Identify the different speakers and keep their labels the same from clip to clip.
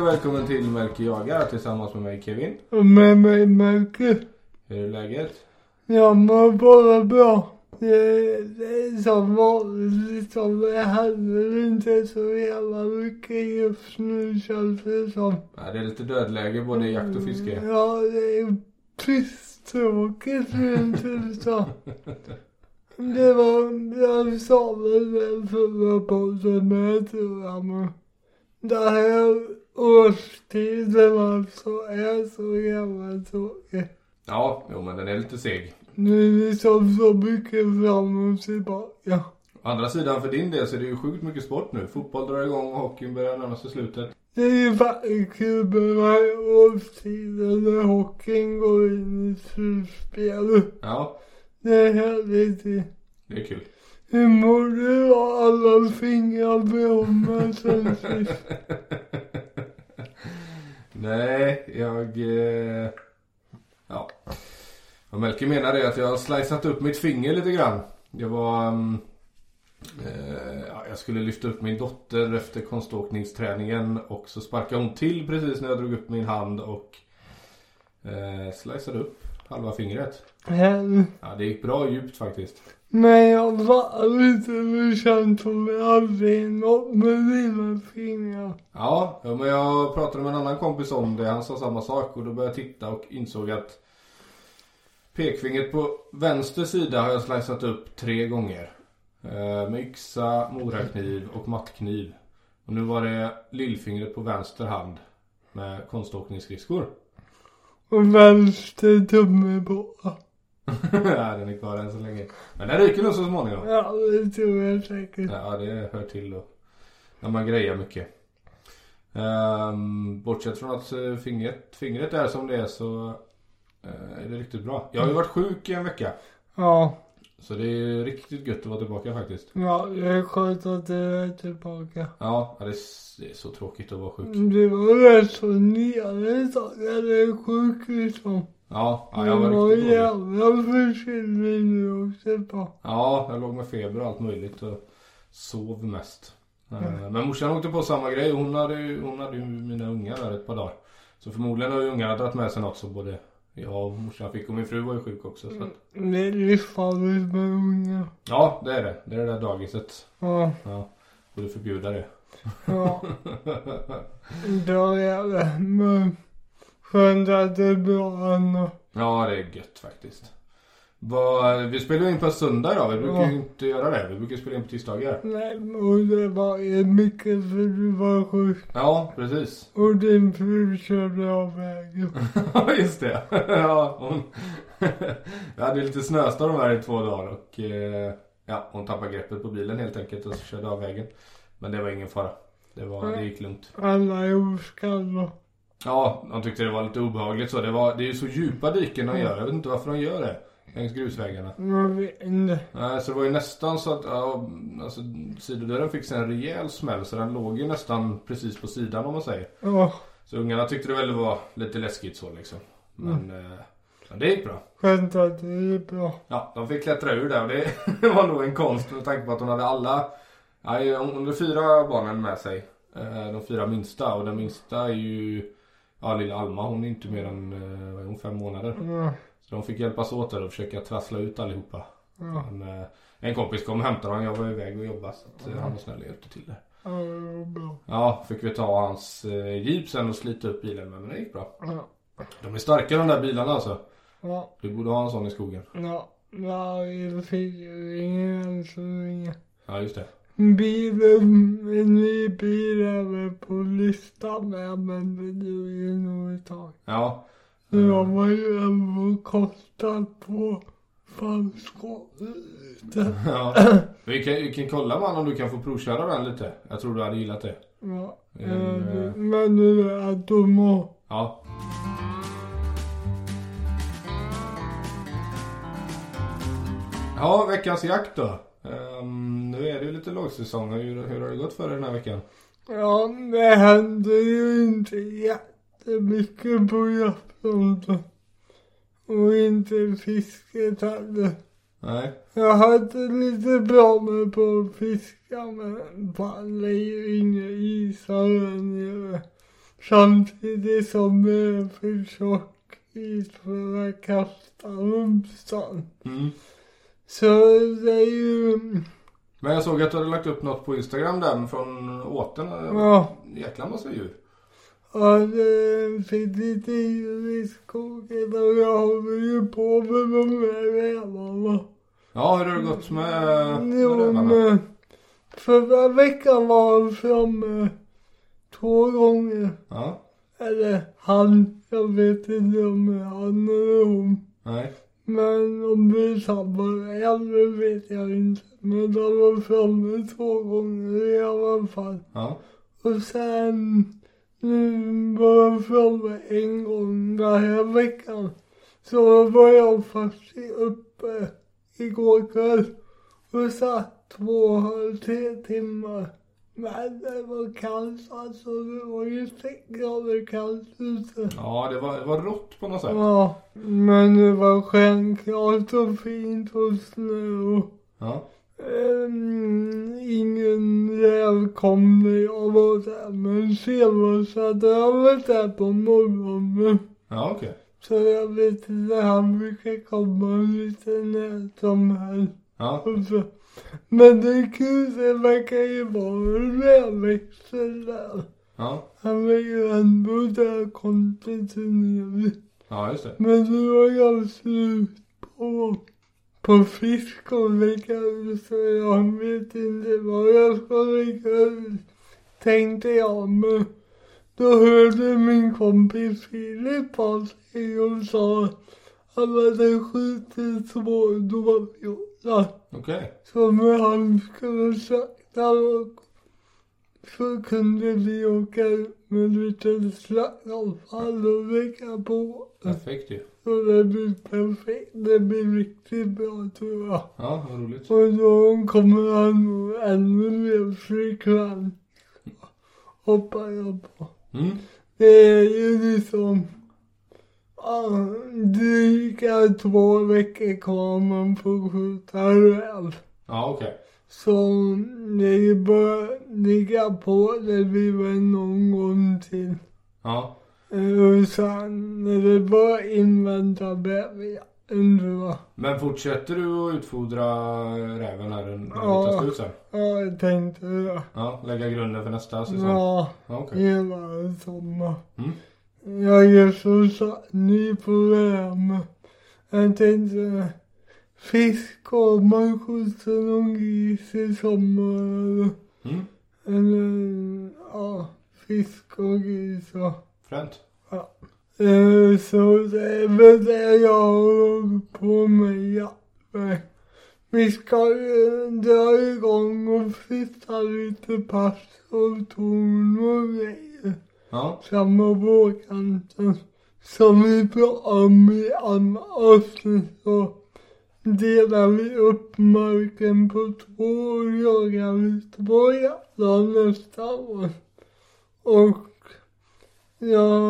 Speaker 1: och välkommen till Melker jagar tillsammans med mig Kevin.
Speaker 2: Och med mig Melker.
Speaker 1: Hur är läget?
Speaker 2: Jag mår bara bra. Det är, det är som vanligt som det händer inte så jävla mycket just nu känns det som.
Speaker 1: Ja, det är lite dödläge både i jakt och
Speaker 2: Mm.
Speaker 1: fiske.
Speaker 2: Ja, det är pisstråkigt men typ så. Det var, jag sa väl det förra podden med tror jag men. Det här årstiden alltså är så jävla tråkig.
Speaker 1: Ja, jo men den är lite seg.
Speaker 2: Nu är det liksom så mycket fram och tillbaka.
Speaker 1: Å andra sidan för din del så är det ju sjukt mycket sport nu. Fotboll drar igång och hockeyn börjar närma sig slutet.
Speaker 2: Det är ju faktiskt kul med den här årstiden när hockeyn går in i slutspel.
Speaker 1: Ja,
Speaker 2: Det är härligt. ju.
Speaker 1: det är kul.
Speaker 2: Hur mår du av alla fingrar blommor sen sist?
Speaker 1: Nej, jag... Eh... Ja. Vad Melker menar är att jag har sliceat upp mitt finger lite grann. Jag var... mm, eh, ja, jag skulle lyfta upp min dotter efter konståkningsträningen och så sparkade hon till precis när jag drog upp min hand och eh, sliceade upp halva fingret.
Speaker 2: Här.
Speaker 1: Ja, det gick bra djupt faktiskt.
Speaker 2: Men jag var inte hur känt som jag aldrig nått med dina fingrar.
Speaker 1: Ja, ja, men jag pratade med en annan kompis om det. Han sa samma sak och då började jag titta och insåg att pekfingret på vänster sida har jag sliceat upp tre gånger. Eh, med yxa, morakniv och mattkniv. Och nu var det lillfingret på vänster hand med konståkningsskridskor.
Speaker 2: Och vänster tumme på.
Speaker 1: ja, den är kvar än så länge. Men den ryker nog så småningom.
Speaker 2: Ja, det tror jag säkert.
Speaker 1: Ja, det hör till då. När man grejar mycket. Ehm, bortsett från att eh, fingret, fingret är som det är så eh, är det riktigt bra. Jag har ju varit sjuk i en vecka.
Speaker 2: Ja,
Speaker 1: Så det är riktigt gött att vara tillbaka faktiskt.
Speaker 2: ja det är skönt att du är tillbaka.
Speaker 1: Ja, ja, det är, s- det är så tråkigt att vara sjuk.
Speaker 2: Du var rätt så nere ett tag när du är sjuk liksom.
Speaker 1: Ja, ja jag
Speaker 2: Du
Speaker 1: var
Speaker 2: var
Speaker 1: riktigt dålig.
Speaker 2: jävla försiktig nu också på.
Speaker 1: Ja, jag låg med feber och allt möjligt och sov mest. Eh, Men morsan åkte på samma grej. Hon hade, ju- hon hade ju mina ungar där ett par dagar. Så förmodligen har ju ungarna dragit med sig något så både jag och morsan fick. Och min fru var ju sjuk också. Så att,
Speaker 2: Det är livsfarligt med unga.
Speaker 1: ja, det är det. Det är det där dagiset.
Speaker 2: Ja,
Speaker 1: Ja, borde förbjuda det.
Speaker 2: ja. Då är det. Men skönt att det är bra ändå.
Speaker 1: ja, det är gött faktiskt. Vad- vi spelar in på söndag idag. Vi brukar
Speaker 2: Ja.
Speaker 1: ju inte göra det. Vi brukar spela in på tisdagar.
Speaker 2: Nej, och det var ju mycket för du var sjuk.
Speaker 1: Ja, precis.
Speaker 2: Och din fru körde av vägen.
Speaker 1: Ja, just det. Ja, hon... Vi hade lite snöstorm här i två dagar och eh, ja, hon tappade greppet på bilen helt enkelt och så körde av vägen. Men det var ingen fara. Det, var, det gick lugnt.
Speaker 2: Alla är oskadda.
Speaker 1: Ja, de tyckte det var lite obehagligt så. Det, var, det är ju så djupa diken de gör. Jag vet inte varför de gör det. Längs grusvägarna.
Speaker 2: Man vet inte.
Speaker 1: Nej, så det var ju nästan så att ja, alltså, sidodörren fick sig en rejäl smäll så den låg ju nästan precis på sidan om man säger.
Speaker 2: Ja,
Speaker 1: Så ungarna tyckte det väl var lite läskigt så liksom. Men eh, ja, det gick bra.
Speaker 2: skönt att det gick bra.
Speaker 1: Ja, de fick klättra ur där och det var nog en konst med tanke på att hon hade alla, nej, hon hon hade fyra barnen med sig. Eh, De fyra minsta och den minsta är ju, ja lilla Alma hon är inte mer än, eh, vad är hon, fem månader.
Speaker 2: Ja,
Speaker 1: Så de fick hjälpas åt där och försöka trassla ut allihopa.
Speaker 2: ja,
Speaker 1: Men, eh, en kompis kom och hämtade dem, jag var iväg och jobbade så att eh, han var snäll och hjälpte till där.
Speaker 2: ja, det var bra.
Speaker 1: Ja, fick vi ta hans eh, jeep sen och slita upp bilen med men det gick bra.
Speaker 2: Ja,
Speaker 1: De är starka de där bilarna alltså.
Speaker 2: ja,
Speaker 1: Du borde ha en sån i skogen.
Speaker 2: ja. Jag fick ju ingen än så länge.
Speaker 1: Ja just det.
Speaker 2: Bilen, en ny bil är väl på listan med men det duger nog ett tag.
Speaker 1: Ja. Mm.
Speaker 2: Men de har ju ändå kostat på falskålet.
Speaker 1: Ja. Vi, kan, vi kan kolla man om du kan få provköra den lite. Jag tror du hade gillat det.
Speaker 2: Ja,
Speaker 1: Mm,
Speaker 2: eh,
Speaker 1: eh.
Speaker 2: men nu är jag dum
Speaker 1: Ja. Ja, veckans jakt då. Ehm, nu är det ju lite lågsäsong. Hur, hur har det gått för dig den här veckan?
Speaker 2: Ja, det händer ju inte jättemycket på jaktfronten. Och inte fisket heller.
Speaker 1: Nej.
Speaker 2: Jag hade lite bra med på att fiska men fan det är ju inga isar här nere. Samtidigt som jag försöker utföra kastarumsan.
Speaker 1: Mm.
Speaker 2: Så det är ju...
Speaker 1: Men jag såg att du hade lagt upp något på Instagram där från åten.
Speaker 2: Ja,
Speaker 1: Jäkla massa djur.
Speaker 2: ja det finns lite djur i skogen och jag håller ju på med de här rävarna.
Speaker 1: Ja, hur har det gått med, med
Speaker 2: Jo,
Speaker 1: rävarna?
Speaker 2: men förra veckan var han framme två gånger.
Speaker 1: Ja,
Speaker 2: Eller han, jag vet inte om det är han eller hon.
Speaker 1: nej.
Speaker 2: Men om det är samma räv, det vet jag inte. Men han var framme två gånger i alla fall.
Speaker 1: Ja,
Speaker 2: Och sen nu var jag framme en gång den här veckan. Så var jag faktiskt uppe igår kväll och satt två och tre timmar. Men det var kallt alltså. Det var ju sex grader kallt ute.
Speaker 1: ja det, var, det var rått på något sätt.
Speaker 2: Ja, men det var stjärnklart och fint och snö och
Speaker 1: Ja,
Speaker 2: Ehm, ingen räv kom när jag var där men senast hade jag varit där på morgonen.
Speaker 1: ja okej.
Speaker 2: Så jag vet inte, han brukar komma lite när som helst.
Speaker 1: Ja,
Speaker 2: Och så- Men det är kul, det verkar ju vara en rävväxel där.
Speaker 1: ja,
Speaker 2: Han var ju ändå där kontinuerligt.
Speaker 1: ja just det.
Speaker 2: Men nu har jag slut på, på fisk och lägga ut så jag vet inte vad jag ska lägga ut. Tänkte jag men då hörde min kompis Filip av sig och sa att han hade skjutit två dovhjortar
Speaker 1: Okej.
Speaker 2: som han skulle slakta och så kunde vi åka ut med lite slaktavfall och lägga på.
Speaker 1: Perfekt ju.
Speaker 2: Så det blir perfekt. Det blir riktigt bra tror jag.
Speaker 1: Ja, vad roligt.
Speaker 2: Och då kommer han nog ännu mer frekvent. Hoppar jag på.
Speaker 1: Mm.
Speaker 2: Det är ju liksom... ja, Dryga två veckor kvar man får skjuta räv.
Speaker 1: Ja, okej.
Speaker 2: Så det är ju bara att ligga på. Det blir väl någon gång till.
Speaker 1: Ja,
Speaker 2: Eh, Och sen är det bara att invänta bävern tror jag.
Speaker 1: men fortsätter du att utfodra räven när den när
Speaker 2: Ja.
Speaker 1: den tar slut sen?
Speaker 2: Ja, jag tänkte det.
Speaker 1: Ja, lägga grunden för nästa säsong? Ja.
Speaker 2: Ja,
Speaker 1: Alltså, Okej.
Speaker 2: hela sommaren.
Speaker 1: Mm.
Speaker 2: Jag är så satt ny på det här med. Jag tänkte eh, fisk och man skjuter någon gris i sommar eller,
Speaker 1: Mm.
Speaker 2: eller ja, fisk och gris och
Speaker 1: Fränt.
Speaker 2: Eh, Så det är väl det jag håller på med, ja. Men Vi ska ju dra igång och flytta lite pass och torn och grejer.
Speaker 1: Ja,
Speaker 2: Samma vårkanten som vi pratade om i andra avsnitt så delar vi upp marken på två och jagar vi två jävlar nästa år. Och ja,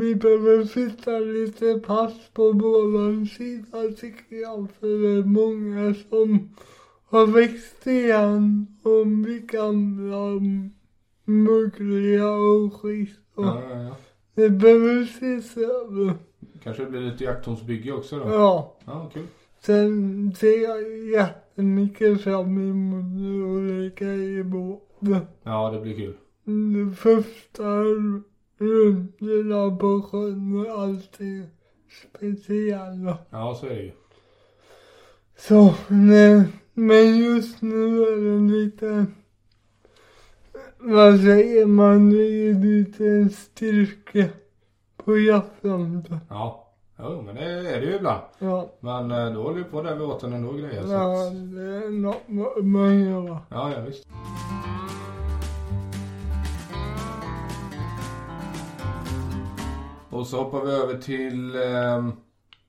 Speaker 2: vi behöver flytta lite pass på våran sida tycker jag för det är många som har växt igen och blir gamla och mögliga och skit. Och
Speaker 1: ja, ja, ja.
Speaker 2: Det behöver ses över.
Speaker 1: Kanske det blir lite jakthornsbygge också då?
Speaker 2: Ja.
Speaker 1: Ja, kul.
Speaker 2: Sen ser jag jättemycket fram emot nu och lägga i båten.
Speaker 1: Ja, det blir kul.
Speaker 2: Det första rundorna på sjön är alltid speciella.
Speaker 1: Ja, så är det ju.
Speaker 2: Så, nej. Men just nu är det lite... Vad säger man? Det är lite styrka på jaktfronten.
Speaker 1: Ja, jo, men det är det ju ibland.
Speaker 2: Ja,
Speaker 1: Men eh, då håller vi på där vid åten ändå och grejer. Så
Speaker 2: ja,
Speaker 1: att,
Speaker 2: det är något vad man gör.
Speaker 1: ja, ja, visst. Och så hoppar vi över till eh,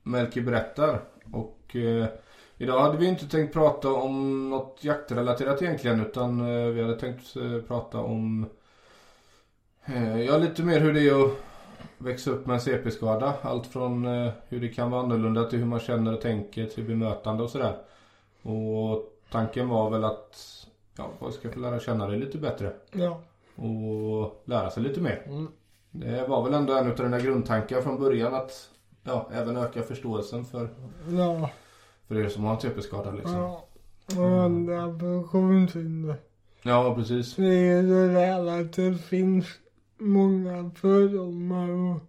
Speaker 1: Melker berättar. Och eh, idag hade vi inte tänkt prata om något jaktrelaterat egentligen. Utan eh, vi hade tänkt eh, prata om eh, ja, lite mer hur det är att växa upp med en CP-skada. Allt från eh, hur det kan vara annorlunda till hur man känner och tänker till bemötande och sådär. Och tanken var väl att ja, folk ska få lära känna dig lite bättre
Speaker 2: Ja.
Speaker 1: och lära sig lite mer.
Speaker 2: Mm.
Speaker 1: Det var väl ändå en av dina grundtankar från början att ja, även öka förståelsen för,
Speaker 2: Ja.
Speaker 1: för er som har en CP-skada liksom.
Speaker 2: Ja. Och andra funktionshinder.
Speaker 1: Ja, precis.
Speaker 2: Det är det där att det finns många fördomar att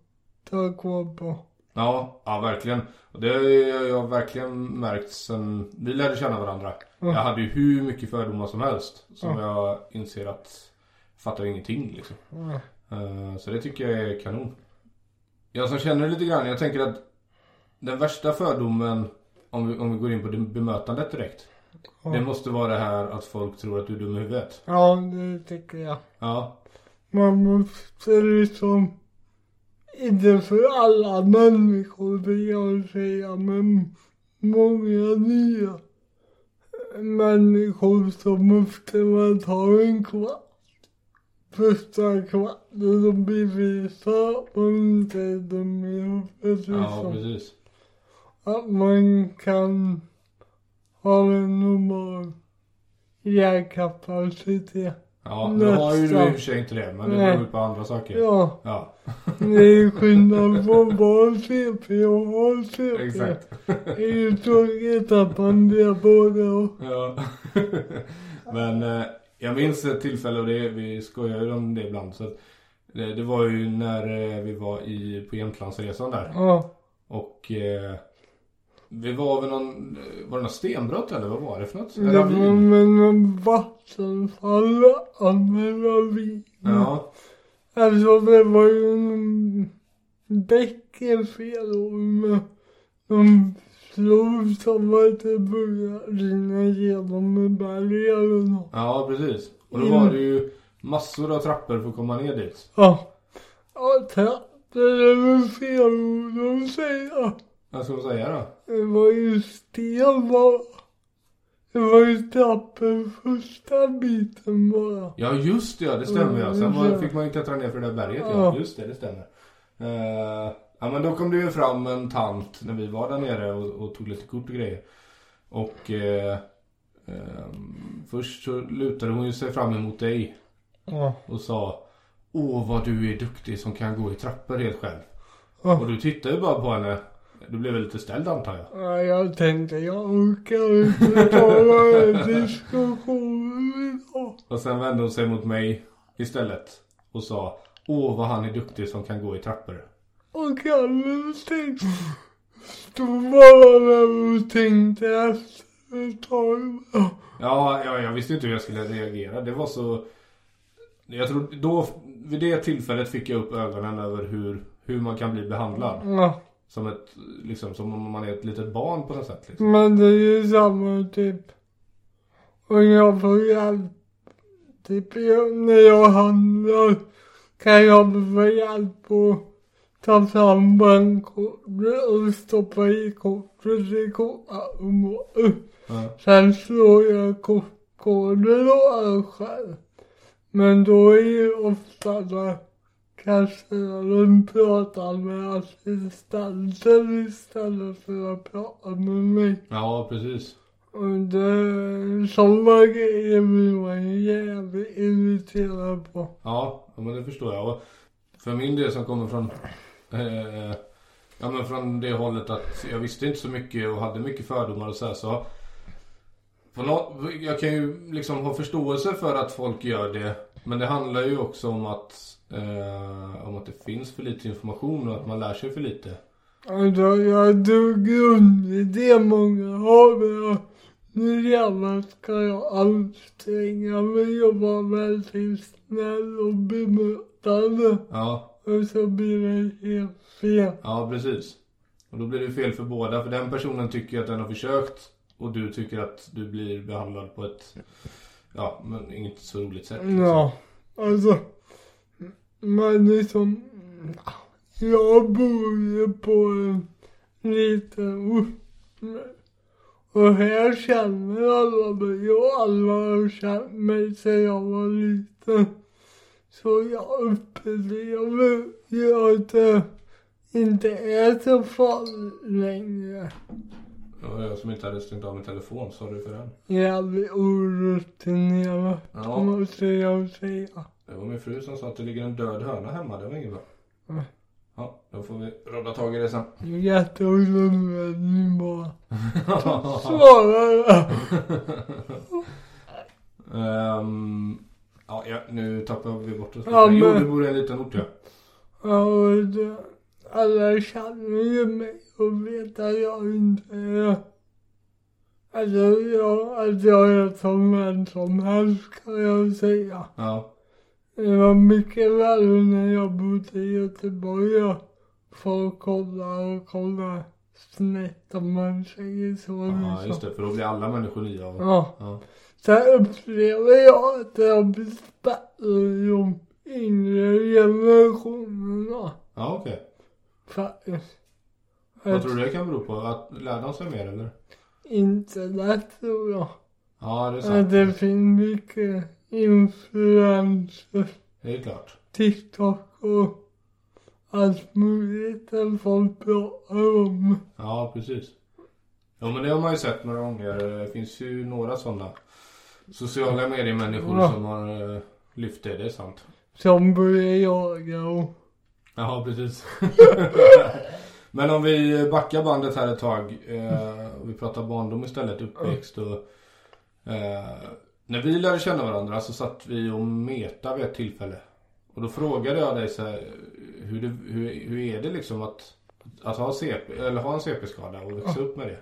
Speaker 2: ta kvar på.
Speaker 1: Ja, ja verkligen. Och det har jag jag har verkligen märkt sen vi lärde känna varandra.
Speaker 2: Mm.
Speaker 1: Jag hade ju hur mycket fördomar som helst som jag inser att jag fattar ingenting liksom.
Speaker 2: Ja.
Speaker 1: Eh, Så det tycker jag är kanon. Jag som känner lite grann, jag tänker att den värsta fördomen, om vi, om vi går in på det bemötandet direkt.
Speaker 2: Ja.
Speaker 1: Det måste vara det här att folk tror att du är dum i huvudet.
Speaker 2: Ja, det tycker jag.
Speaker 1: Ja,
Speaker 2: Man måste liksom, inte för alla människor vill jag säga, men många nya människor så måste man ta en kvart. Första kvarten och bevisa att man inte är dum i huvudet.
Speaker 1: ja
Speaker 2: liksom.
Speaker 1: precis.
Speaker 2: Att man kan ha en normal hjärnkapacitet.
Speaker 1: Ja, nu har ju du i och för sig inte det, men det
Speaker 2: Nej.
Speaker 1: beror ju på andra saker.
Speaker 2: Ja.
Speaker 1: Ja,
Speaker 2: Det är skillnad på barn-CP och A-CP.
Speaker 1: exakt.
Speaker 2: Det är ju tråkigt att man blir både och.
Speaker 1: Ja. Men eh, jag minns ett tillfälle och det, vi skojar ju om det ibland. Så att, det, det var ju när eh, vi var i, på Jämtlandsresan där.
Speaker 2: Ja.
Speaker 1: Och eh, vi var vid någon, eh, var det något stenbrott eller vad var det för något?
Speaker 2: Mm, Det var
Speaker 1: Ravin?
Speaker 2: med någon vattenfall av en ravin.
Speaker 1: Ja,
Speaker 2: Alltså det var ju en bäck i fel år med en flod som var till början rinna genom med bergen och
Speaker 1: ja precis. Och
Speaker 2: Mm.
Speaker 1: då var det ju massor av trappor för att komma ner dit.
Speaker 2: ja. Ja, trappor är väl fel ord att säga.
Speaker 1: Vad ska man säga då?
Speaker 2: Det var ju sten bara. Det var ju trappor första biten bara.
Speaker 1: Ja just det, ja, det stämmer ja. Sen var, fick man ju klättra ner för det där berget ja.
Speaker 2: Mm. Ja.
Speaker 1: Just det, det stämmer. Eh, ja men då kom det ju fram en tant när vi var där nere och, och tog lite kort och grejer. Och eh, ehm, först så lutade hon ju sig fram emot dig
Speaker 2: Ja.
Speaker 1: och sa Åh vad du är duktig som kan gå i trappor helt själv.
Speaker 2: Ja.
Speaker 1: Och du tittade ju bara på henne. Du blev väl lite ställd antar jag?
Speaker 2: Ja, jag tänkte jag orkar inte ta några diskussioner idag.
Speaker 1: Och sen vände hon sig mot mig istället och sa Åh vad han är duktig som kan gå i trappor.
Speaker 2: Och Kalle tänkte, stod bara där och tänkte efter ett tag.
Speaker 1: Ja, ja, jag visste inte hur jag skulle reagera. Det var så... Jag tror då, vid det tillfället fick jag upp ögonen över hur, hur man kan bli behandlad.
Speaker 2: Ja,
Speaker 1: Som, ett, liksom, som om man är ett litet barn på något sätt. Liksom.
Speaker 2: men det är ju samma typ. Och jag får hjälp. Typ jag, när jag handlar kan jag få hjälp att ta fram bankkortet och stoppa i kortet i kortet.
Speaker 1: Ja.
Speaker 2: Sen slår jag kortkoden och är själv. Men då är ju ofta när kassören pratar med assistenten istället för att prata med mig.
Speaker 1: ja, precis.
Speaker 2: Och det, sådana grejer blir man ju jävligt irriterad på.
Speaker 1: Ja, ja, men det förstår jag. Och för min del som kommer från... Eh, ja, men från det hållet att jag visste inte så mycket och hade mycket fördomar och så här, så... På nå- jag kan ju liksom ha förståelse för att folk gör det. Men det handlar ju också om att, eh, om att det finns för lite information och att man lär sig för lite.
Speaker 2: Alltså jag tog grundidé många har men jag- nu jävlar ska jag anstränga mig och vara väldigt snäll och bemötande.
Speaker 1: Ja,
Speaker 2: Och så blir det helt fel.
Speaker 1: ja precis. Och då blir det fel för båda. För den personen tycker ju att den har försökt. Och du tycker att du blir behandlad på ett, ja men inget så roligt sätt. liksom.
Speaker 2: Ja, alltså. Men liksom. Jag bor ju på en liten ort. nu. Och här känner alla mig och alla har känt mig sedan jag var liten. Så jag upplever ju att det inte är så farligt längre.
Speaker 1: Det var jag som inte hade stängt av min telefon, sa du för den?
Speaker 2: Jävligt orutinerat
Speaker 1: Ja.
Speaker 2: måste jag säga.
Speaker 1: Det var min fru som sa att det ligger en död höna hemma. Det var inget bra.
Speaker 2: Mm.
Speaker 1: Ja, då får vi råda tag i det sen.
Speaker 2: Det är jätteolyckligt att ni bara svarar.
Speaker 1: Ehm, ja, ja, nu tappar vi bort oss.
Speaker 2: Ja,
Speaker 1: Jo,
Speaker 2: men-
Speaker 1: det bor i en liten ort ja.
Speaker 2: Ja, och det- alla känner ju mig och vet att jag inte är... Alltså, jag, att jag är som vem som helst kan jag säga.
Speaker 1: Ja,
Speaker 2: Det var mycket värre när jag bodde i Göteborg och folk kollade och kollade snett om man säger så.
Speaker 1: ja
Speaker 2: liksom.
Speaker 1: just det. För då blir alla människor nya. Och...
Speaker 2: Ja.
Speaker 1: Ja.
Speaker 2: Sen upplever jag att det har blivit bättre i de yngre generationerna
Speaker 1: Ja, okej.
Speaker 2: faktiskt.
Speaker 1: Vad tror du det kan bero på? Att lär de sig mer eller?
Speaker 2: Internet tror jag.
Speaker 1: Ja, det är sant.
Speaker 2: Att det finns mycket influenser.
Speaker 1: Det är klart.
Speaker 2: TikTok och allt möjligt där folk pratar om.
Speaker 1: Ja, precis. Ja, men det har man ju sett några gånger. Det finns ju några sådana sociala mediemänniskor
Speaker 2: Ja.
Speaker 1: som har eh, lyft det. Det är sant.
Speaker 2: Som börjar jaga och...
Speaker 1: Ja, precis. men om vi backar bandet här ett tag. Eh, och vi pratar barndom istället, uppväxt och... Eh, när vi lärde känna varandra så satt vi och metade vid ett tillfälle. Och då frågade jag dig så här, hur, det, hur, hur är det liksom att, att ha, CP, eller ha en CP-skada och växa upp med det?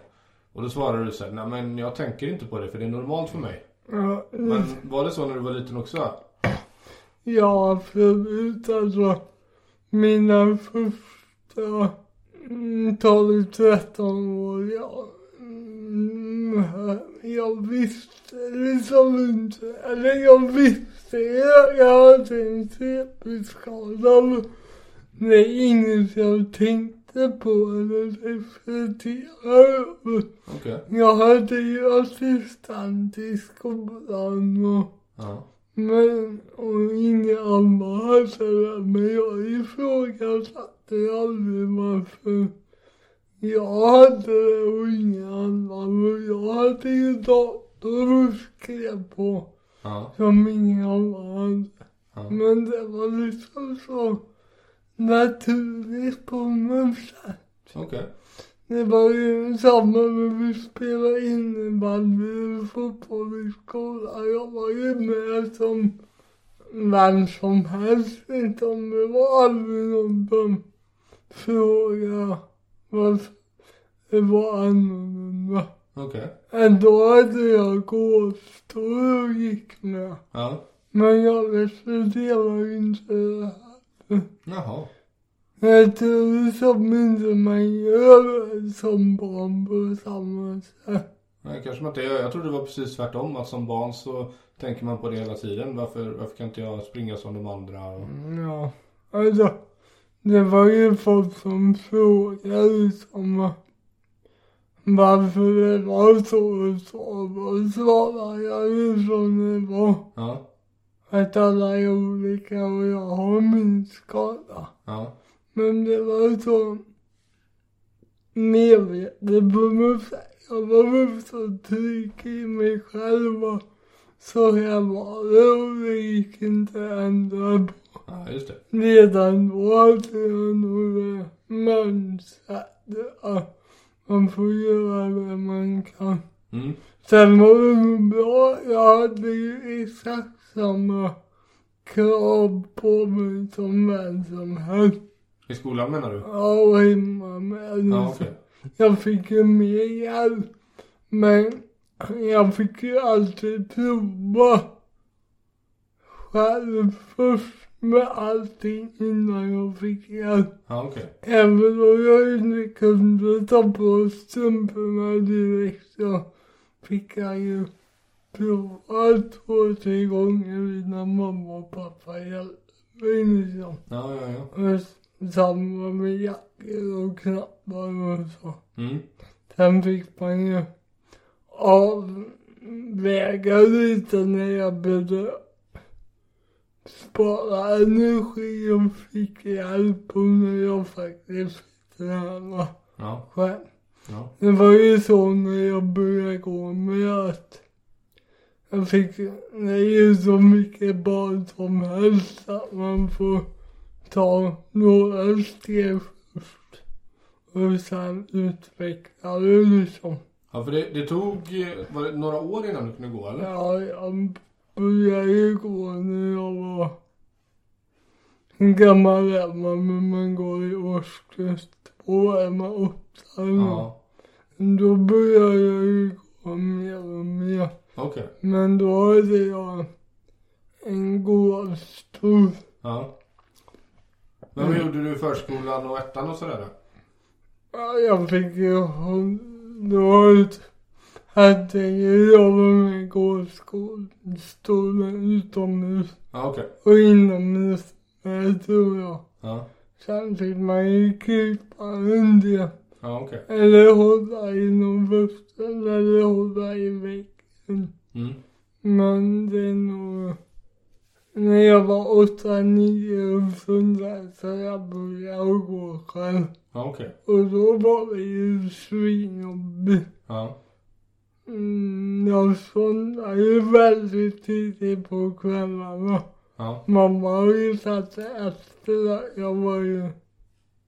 Speaker 1: Och då svarade du så här, nej men jag tänker inte på det för det är normalt för mig.
Speaker 2: Ja,
Speaker 1: Men var det så när du var liten också?
Speaker 2: Ja, absolut. Alltså, mina första mm, 12-13 år, jag, mm, jag visste liksom inte, eller jag visste jag, jag hade en CP-skada. men Det är inget jag tänkte på eller reflekterade över.
Speaker 1: Okej.
Speaker 2: Jag hade ju assistent i skolan och
Speaker 1: Ja.
Speaker 2: men, och inga andra hälsade men jag ifrågasatte aldrig varför jag hade det och inga andra. Men jag hade ju dator och skrev på
Speaker 1: Ja.
Speaker 2: som inga andra hade.
Speaker 1: Ja.
Speaker 2: Men det var liksom så naturligt på något sätt.
Speaker 1: Okej.
Speaker 2: Det var ju samma när vi spelade innebandy och fotboll i skolan. Jag var ju med som vem som helst liksom. Det var aldrig någon som frågade varför det var annorlunda.
Speaker 1: Okej.
Speaker 2: Ändå hade jag gåtor och gick med.
Speaker 1: Ja.
Speaker 2: Men jag respekterade ju inte det här.
Speaker 1: Jaha.
Speaker 2: Jag tror som inte man gör som barn på samma sätt.
Speaker 1: Nej, kanske man inte gör. Jag tror det var precis tvärtom. Att som barn så tänker man på det hela tiden. Varför, varför kan inte jag springa som de andra? Och...
Speaker 2: Mm. Ja, alltså. Det var ju folk som frågade liksom varför det var så och så. Och svarade jag ju som det var.
Speaker 1: Ja,
Speaker 2: Att alla är olika och jag har min skada.
Speaker 1: ja,
Speaker 2: Men det var så medvetet på något sätt. Jag var väl så trygg i mig själv och så jag var det och det gick inte att ändra på.
Speaker 1: ja just det.
Speaker 2: Redan då hade jag nog det mönstret att man får göra det man kan.
Speaker 1: Mm.
Speaker 2: Sen var det nog bra, jag hade ju exakt samma krav på mig som vem som helst.
Speaker 1: I skolan menar du?
Speaker 2: Ja, och hemma med.
Speaker 1: Ja, okej.
Speaker 2: Jag fick ju mer hjälp. Men jag fick ju alltid prova själv först med allting innan jag fick hjälp.
Speaker 1: Ja, okej.
Speaker 2: Även om jag inte kunde ta på strumporna direkt så fick jag ju prova två, tre gånger innan mamma och pappa hjälpte mig liksom.
Speaker 1: Ja, ja, ja.
Speaker 2: Och samma med jackor och knappar och så.
Speaker 1: Mm.
Speaker 2: Sen fick man ju avväga lite när jag började spara energi och fick hjälp och när jag faktiskt fick träna
Speaker 1: Ja,
Speaker 2: själv.
Speaker 1: ja.
Speaker 2: Det var ju så när jag började gå med att Jag fick, det är ju så mycket barn som helst att man får ta några steg först. Och sen utveckla det liksom.
Speaker 1: Ja, för det, det tog eh, var det några år innan du kunde gå eller?
Speaker 2: Ja, jag började ju gå när jag var... Hur gammal är man när man går i årskurs två? Är man åtta eller nåt?
Speaker 1: Ja.
Speaker 2: Då började jag ju gå mer och mer.
Speaker 1: Okej.
Speaker 2: Men då hade jag en gåstol.
Speaker 1: Ja. Men hur gjorde du i förskolan och ettan och sådär då?
Speaker 2: Ja, Jag fick ju då ut- hade ju jag med gåstolen utomhus
Speaker 1: Ja, okej.
Speaker 2: och inomhus. Men jag tror jag.
Speaker 1: Ja.
Speaker 2: Sen fick man ju krypa runt det.
Speaker 1: Ja, okej.
Speaker 2: Eller hålla i någon vuxen eller hålla i väggen.
Speaker 1: Mm.
Speaker 2: Men det är nog... När jag var åtta, nio och sådär så jag började gå själv.
Speaker 1: Ja, okej.
Speaker 2: Och då var det ju svinjobbigt.
Speaker 1: Ja.
Speaker 2: Mm, jag somnade ju väldigt tidigt på kvällarna.
Speaker 1: Ja.
Speaker 2: Mamma har ju satt sig efter att jag var ju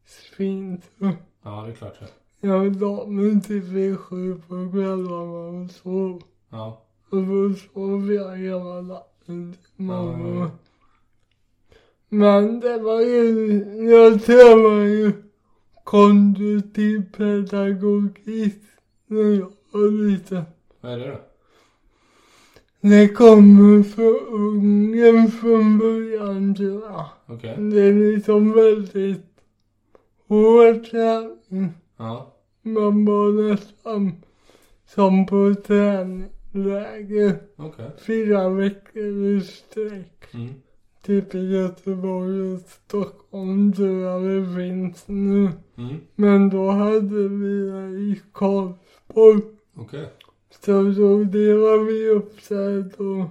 Speaker 2: svintrött.
Speaker 1: Ja, det är klart. Ja.
Speaker 2: Jag la mig typ vid sju på kvällarna och sov.
Speaker 1: Ja.
Speaker 2: Och då sov jag hela natten till
Speaker 1: Ja,
Speaker 2: mamma.
Speaker 1: ja.
Speaker 2: Men det var ju, jag tränade ju konditiv pedagogik när jag var liten.
Speaker 1: Vad är det då?
Speaker 2: Det kommer från ungen från början tror jag.
Speaker 1: Okej.
Speaker 2: Det är liksom väldigt hård träning.
Speaker 1: Ja.
Speaker 2: Man var nästan som på träningsläger
Speaker 1: Okej.
Speaker 2: fyra veckor i sträck.
Speaker 1: Mm.
Speaker 2: Typ i Göteborg och Stockholm tror jag det finns nu.
Speaker 1: Mm.
Speaker 2: Men då hade vi det i Karlsborg.
Speaker 1: Okej.
Speaker 2: Så då delade vi upp sig då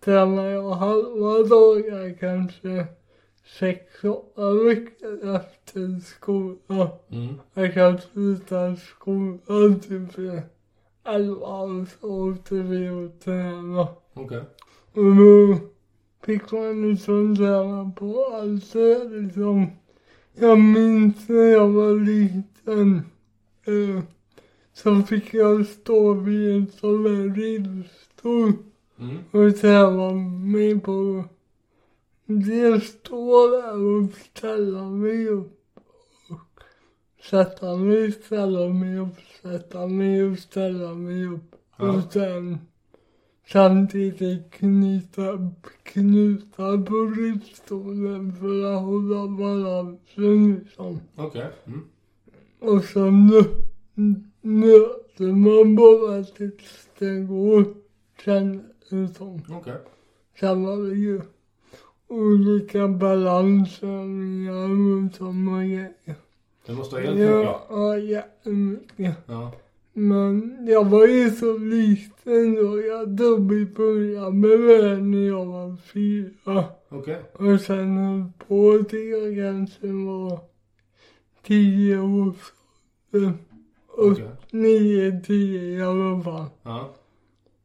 Speaker 2: tränade jag halva dagar kanske sex, åtta veckor efter skolan.
Speaker 1: Mm.
Speaker 2: Jag kan sluta skolan Alltså, typ vid elva och så åkte vi och tränade.
Speaker 1: Okej.
Speaker 2: Och då fick man liksom träna på allt det där, liksom. Jag minns när jag var liten. Eh, så fick jag stå vid en sån där rullstol
Speaker 1: Mm.
Speaker 2: och träna mig på dels stå där och ställa mig upp och sätta mig, ställa mig upp, sätta mig upp, ställa mig upp.
Speaker 1: Ja.
Speaker 2: Och sen samtidigt knyta, knyta på rullstolen för att hålla balansen liksom.
Speaker 1: Okej. Mm.
Speaker 2: Och så nö- nöter man bara tills det går, känns det som.
Speaker 1: Okej.
Speaker 2: Sen var det ju olika balansövningar runt om och grejer.
Speaker 1: Det måste ha hjälpt mycket.
Speaker 2: Ja, ja, jättemycket.
Speaker 1: Ja.
Speaker 2: Men jag var ju så liten då. Jag dubbelbörjade med det här när jag var fyra.
Speaker 1: Okej.
Speaker 2: Och sen höll på till jag kanske var tio år. Och
Speaker 1: Okej.
Speaker 2: nio, tio i alla fall.
Speaker 1: Ja.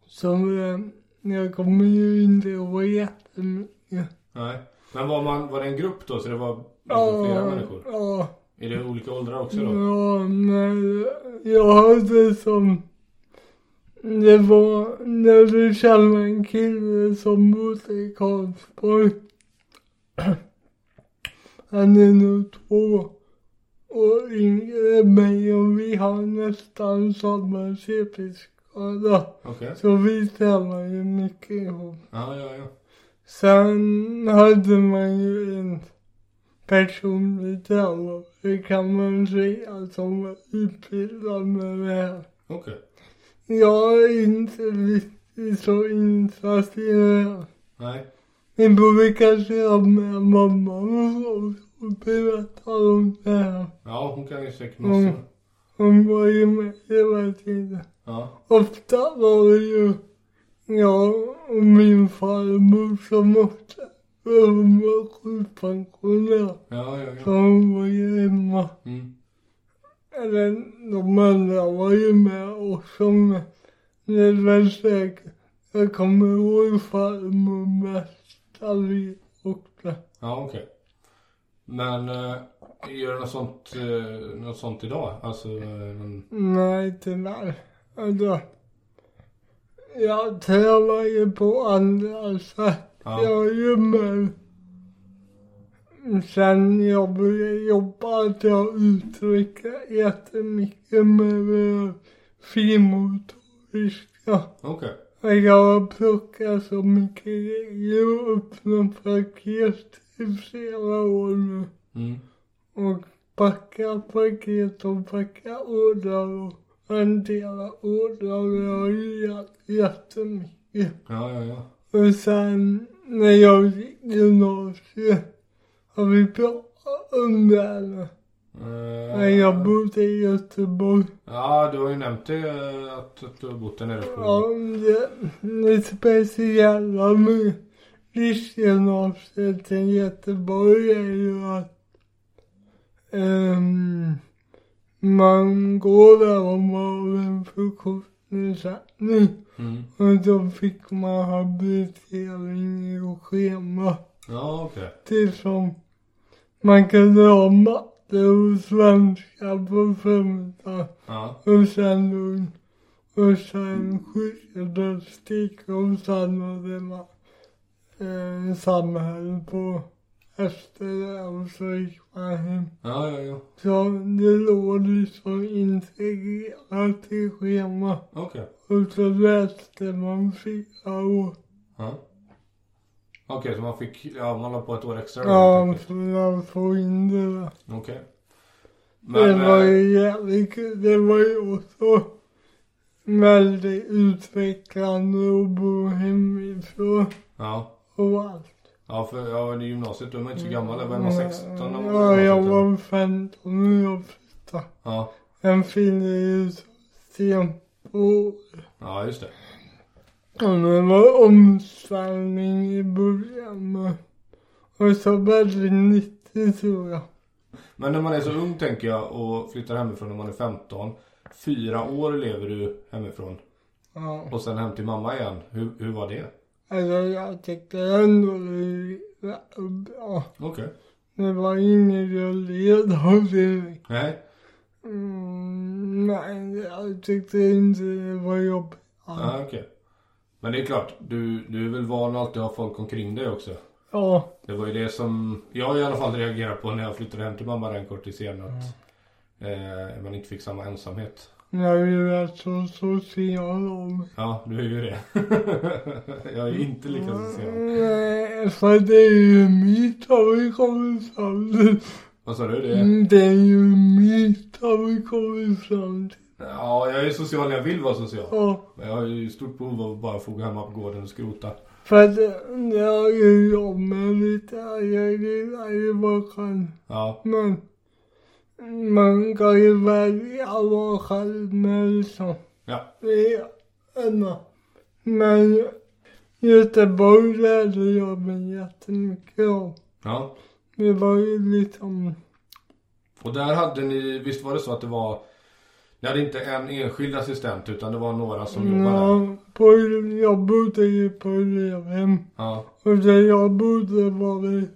Speaker 2: Så eh, jag kommer ju inte ihåg jättemycket.
Speaker 1: Nej. Men var, man, var det en grupp då? Så det var liksom flera
Speaker 2: Ja,
Speaker 1: människor?
Speaker 2: ja.
Speaker 1: Är det olika åldrar också då?
Speaker 2: Ja, men jag hade som... Det var när du kände en kille som bodde i Karlsborg. Han är nog två år yngre än mig och vi har nästan samma CP-skada.
Speaker 1: Okej.
Speaker 2: Så vi tävlar ju mycket ihop.
Speaker 1: Ja, ja, ja.
Speaker 2: Sen hade man ju en personlig tränare, det kan man säga, som var utbildad med det här.
Speaker 1: Okej.
Speaker 2: Jag är inte riktigt så insatt i det här.
Speaker 1: Nej.
Speaker 2: Vi borde kanske ha med mamma och så och berätta om det här.
Speaker 1: Ja, hon kan ju säkert
Speaker 2: Mm.
Speaker 1: massor.
Speaker 2: Hon var ju med hela tiden.
Speaker 1: Ja.
Speaker 2: Ofta var det ju jag och min farmor som ofta, för hon var sjukpensionär.
Speaker 1: Ja, ja,
Speaker 2: Så
Speaker 1: ja.
Speaker 2: hon var ju hemma.
Speaker 1: Mm.
Speaker 2: Eller de andra var ju med också. Men det var säkert Jag kommer ihåg farmor mest. Ofta.
Speaker 1: Ja, okej. Men eh, gör du något sånt, eh, något sånt idag? Alltså, eh, någon...
Speaker 2: Nej, tyvärr. Alltså, jag tränar ju på andra sätt.
Speaker 1: ja.
Speaker 2: Jag är ju med. Sen jag började jobba att jag uttrycker jättemycket med eh, finmotoriska.
Speaker 1: Okej.
Speaker 2: Och jag plockar så mycket grejer och öppnar paket i flera år nu.
Speaker 1: Mm.
Speaker 2: Och packar paket och packar ordrar och hanterar ordrar. Jag har ju jä- jättemycket.
Speaker 1: Ja, ja, ja.
Speaker 2: Och sen när jag gick gymnasiet har vi pratat om det här. nu.
Speaker 1: Eh,
Speaker 2: Men jag bodde i Göteborg.
Speaker 1: Ja, du har ju nämnt det eh, att, att du har bott där nere på...
Speaker 2: Ja, det, det speciella med riksgymnasiet i Göteborg är ju att ehm, man går där om man har en funktionsnedsättning.
Speaker 1: Mm.
Speaker 2: Och då fick man habilitering och schema.
Speaker 1: Ja, okej.
Speaker 2: Det som man kunde ha matte och svenska på förmiddagen.
Speaker 1: Ja.
Speaker 2: Och sen lugn. Och sen skyddsstick och sen hade man eh, samhälle på efter det och så gick man hem.
Speaker 1: Ja, ja, ja.
Speaker 2: Så det låg liksom integrerat i schemat.
Speaker 1: Okej.
Speaker 2: Och så läste man fyra år.
Speaker 1: Ja. Okej, så man fick... Ja, man la på ett år extra då, helt
Speaker 2: Ja,
Speaker 1: enkelt.
Speaker 2: så jag får in det där.
Speaker 1: Okej.
Speaker 2: det var
Speaker 1: eh,
Speaker 2: ju jävligt kul. Det var ju också väldigt utvecklande att bo hemifrån
Speaker 1: Ja.
Speaker 2: och allt.
Speaker 1: Ja, för ja, det är gymnasiet. Då är man inte så gammal. Då var man 16 när man
Speaker 2: Mm. Ja, jag
Speaker 1: gymnasiet, eller?
Speaker 2: var 15 när jag flyttade.
Speaker 1: Ja.
Speaker 2: Sen fyllde jag ju sent på
Speaker 1: Ja, just det.
Speaker 2: Ja, det var omställning i början med. Och så väldigt nyttigt tror jag.
Speaker 1: Men när man är så ung tänker jag och flyttar hemifrån när man är 15. Fyra år lever du hemifrån
Speaker 2: Ja.
Speaker 1: och sen hem till mamma igen. Hur, hur var det?
Speaker 2: Alltså jag tyckte ändå det var bra.
Speaker 1: Okej.
Speaker 2: Det var inget jag led av direkt.
Speaker 1: Nej.
Speaker 2: Mm, nej, jag tyckte inte det var jobbigt.
Speaker 1: Ja, okej. Men det är klart, du, du är väl van att alltid ha folk omkring dig också?
Speaker 2: Ja,
Speaker 1: Det var ju det som jag i alla fall reagerade på när jag flyttade hem till mamma den kortisen. Att eh, man inte fick samma ensamhet.
Speaker 2: jag är ju rätt så social av mig.
Speaker 1: Ja, du är ju det. jag är inte lika social.
Speaker 2: Mm, Nej, för det är ju mitt har vi kommit fram till.
Speaker 1: Vad sa du? Det
Speaker 2: Mm, Det är ju mitt har vi kommit fram till.
Speaker 1: Ja, jag är social när jag vill vara social.
Speaker 2: Ja,
Speaker 1: Men jag har ju stort behov av att bara få gå hemma på gården och skrota.
Speaker 2: för det, jag gillar mig lite, jag gillar ju vad kan.
Speaker 1: Ja,
Speaker 2: Men man kan ju välja vad själv med liksom.
Speaker 1: ja,
Speaker 2: Det är Emma. Men Göteborg lärde jag mig jättemycket om.
Speaker 1: ja.
Speaker 2: Det var ju liksom
Speaker 1: Och där hade ni, visst var det så att det var, ni hade inte en enskild assistent utan det var några som jobbade?
Speaker 2: Ja, på, jag bodde ju på elevhem.
Speaker 1: Ja,
Speaker 2: Och där jag bodde var det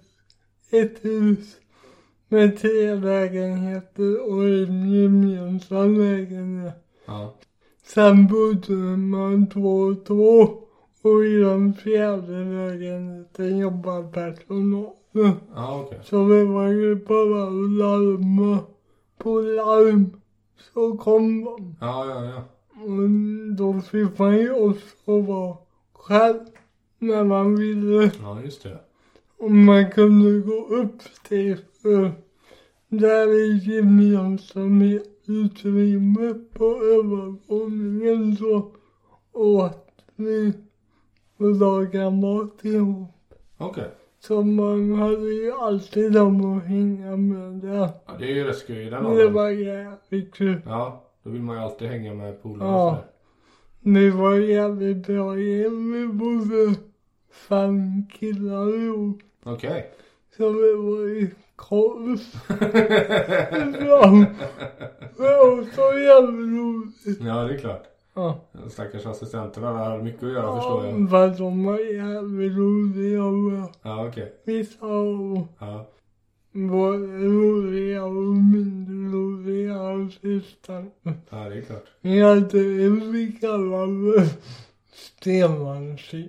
Speaker 2: ett hus med tre lägenheter och en gemensam lägenhet.
Speaker 1: ja,
Speaker 2: Sen bodde man två och två. Och i den fjärde lägenheten jobbade personalen.
Speaker 1: ja okej.
Speaker 2: Så det var ju bara att larma på larm. Så kom de.
Speaker 1: Ja, ja, ja.
Speaker 2: Men då fick man ju också vara själv när man ville.
Speaker 1: Ja, just det.
Speaker 2: Och man kunde gå upp till eh, där i gemensamma utrymme på övervåningen så åt vi och lagade mat ihop.
Speaker 1: Okej.
Speaker 2: Så man hade ju alltid dem att hänga med där.
Speaker 1: Ja, det är ju rätt skoj i den
Speaker 2: Det
Speaker 1: åldern.
Speaker 2: var jävligt kul.
Speaker 1: Ja, då vill man ju alltid hänga med polare
Speaker 2: Ja.
Speaker 1: och sådär.
Speaker 2: Det var jävligt bra gäng. Vi bodde fem killar ihop.
Speaker 1: Okej.
Speaker 2: Så vi var i korv. Ja. Det var också jävligt roligt.
Speaker 1: ja, det är klart.
Speaker 2: Ja.
Speaker 1: Stackars assistenterna där hade mycket att göra förstår jag.
Speaker 2: Ja, Fast de var jävligt roliga och
Speaker 1: Ja okej.
Speaker 2: vissa av
Speaker 1: Ja.
Speaker 2: dem var roliga och mindre roliga assistenter.
Speaker 1: ja, det är klart.
Speaker 2: Vi hade en vi kallade Stenmansson.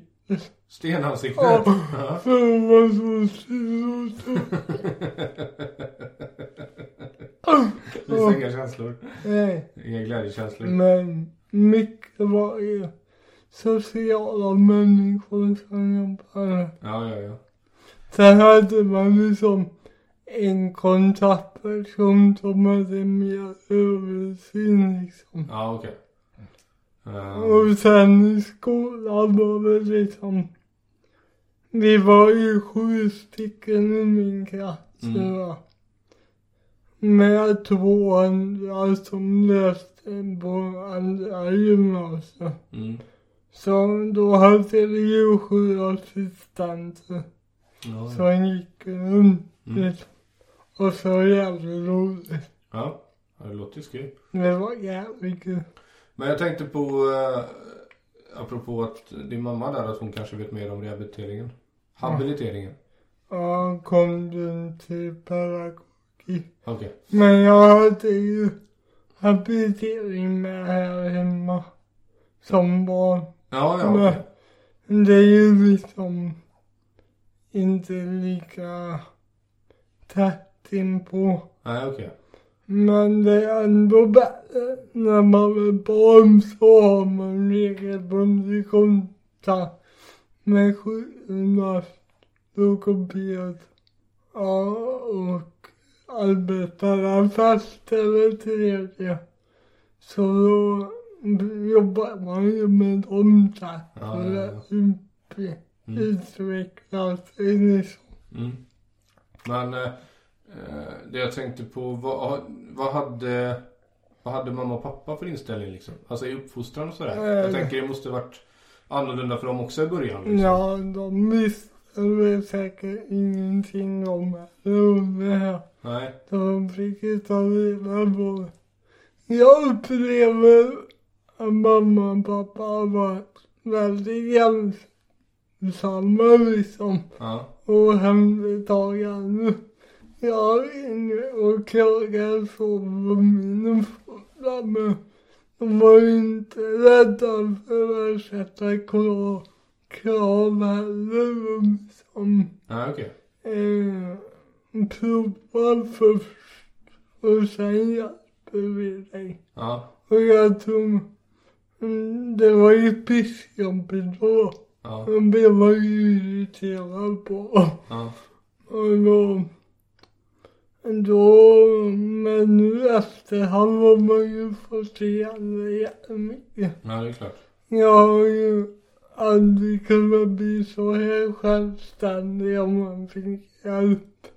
Speaker 1: Stenansikte.
Speaker 2: Ja.
Speaker 1: Ja.
Speaker 2: För hon var så sur och så-
Speaker 1: Visa inga känslor.
Speaker 2: Nej,
Speaker 1: Inga
Speaker 2: Mm.
Speaker 1: glädjekänslor.
Speaker 2: men mycket var ju sociala människor som jobbade.
Speaker 1: Ja, ja, ja.
Speaker 2: Sen hade man liksom en kontaktperson som hade mer översyn liksom.
Speaker 1: Ja, okej. Ehm,
Speaker 2: Och sen i skolan var det liksom, vi var ju sju stycken i min klass
Speaker 1: Mm.
Speaker 2: tror jag. Med två andra som läste på andra gymnasiet.
Speaker 1: mm.
Speaker 2: Så då hade vi ju sju assistenter.
Speaker 1: Ja, ja.
Speaker 2: Så han gick runt
Speaker 1: Mm.
Speaker 2: liksom. Och så var det jävligt roligt.
Speaker 1: ja. ja, det låter ju skoj.
Speaker 2: Det var jävligt kul.
Speaker 1: Men jag tänkte på, eh, apropå att din mamma där, att hon kanske vet mer om rehabiliteringen. Habiliteringen.
Speaker 2: Ja, kom den till pedagogik.
Speaker 1: Okej.
Speaker 2: Men jag hade ju habilitering med här hemma. Som barn.
Speaker 1: Ja, ja, okej.
Speaker 2: Det är ju liksom inte lika tätt inpå.
Speaker 1: Nej, okej.
Speaker 2: Men det är ändå bättre när man är barn så har man regelbundet kontakt med sjukgymnast, logoped ja, och arbetararfest eller tredje. Så då jobbar man ju med dem där
Speaker 1: Ja,
Speaker 2: för
Speaker 1: ja, ja.
Speaker 2: att ut-
Speaker 1: Mm.
Speaker 2: utveckla sig liksom.
Speaker 1: Mm. Men eh, eh, det jag tänkte på, vad, vad, hade, vad hade mamma och pappa för inställning liksom? Alltså i uppfostran och sådär.
Speaker 2: Eh,
Speaker 1: Jag tänker det måste varit annorlunda för dem också i början. Liksom.
Speaker 2: Ja, de visste väl säkert ingenting om det här.
Speaker 1: Nej.
Speaker 2: Så de fick ju ta reda på det. Jag upplever att mamma och pappa har varit väldigt ensamma liksom.
Speaker 1: Ja.
Speaker 2: Och hemtagande. Jag är inne och klagar så på mina föräldrar men de var ju inte rädda för att sätta krav, krav heller. Liksom
Speaker 1: Nej, okej.
Speaker 2: eh, prova först och sen hjälper vi dig.
Speaker 1: Ja.
Speaker 2: Och jag tror, mm, det var ju pissjobbigt då.
Speaker 1: Ja.
Speaker 2: Jag blev man ju irriterad på.
Speaker 1: Ja.
Speaker 2: Och då, då, men nu efterhand har man ju fått igen det jättemycket.
Speaker 1: Ja, det är klart.
Speaker 2: Jag har ju aldrig kunnat bli så här självständig om man fick hjälp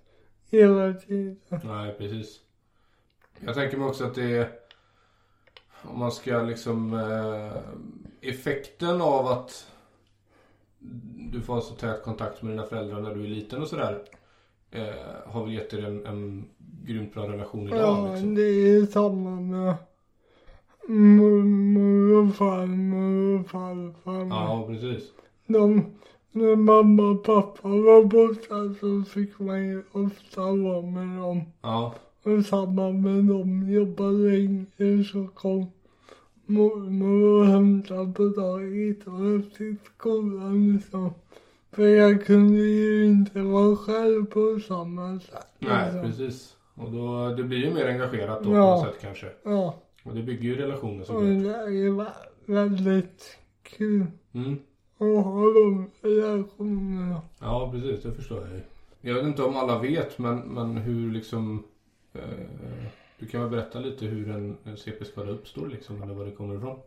Speaker 2: hela tiden.
Speaker 1: Nej, precis. Jag tänker mig också att det är... Om man ska liksom... Eh, effekten av att du får så tät kontakt med dina föräldrar när du är liten och sådär. Eh, har väl gett dig en, en grymt bra relation idag.
Speaker 2: Ja, mm.
Speaker 1: liksom.
Speaker 2: det är ju samma med mormor och farmor och farfar.
Speaker 1: ja, precis.
Speaker 2: De, när mamma och pappa var borta så fick man ju ofta vara med dem.
Speaker 1: Ja,
Speaker 2: Och samma med dem jobbade länge så kom mormor och hämtade på dagis och efter skolan liksom. För jag kunde ju inte vara själv på samma sätt.
Speaker 1: nej,
Speaker 2: liksom.
Speaker 1: precis. Och då, det blir ju mer engagerat då
Speaker 2: Ja.
Speaker 1: på något sätt kanske.
Speaker 2: Ja,
Speaker 1: Och det bygger ju relationer
Speaker 2: och
Speaker 1: såklart.
Speaker 2: det är ju vä- väldigt kul
Speaker 1: Mm.
Speaker 2: att ha de relationerna.
Speaker 1: Ja, precis. Det förstår jag ju. Jag vet inte om alla vet, men, men hur liksom... Eh, du kan väl berätta lite hur en, en CP-skada uppstår liksom, eller var det kommer ifrån?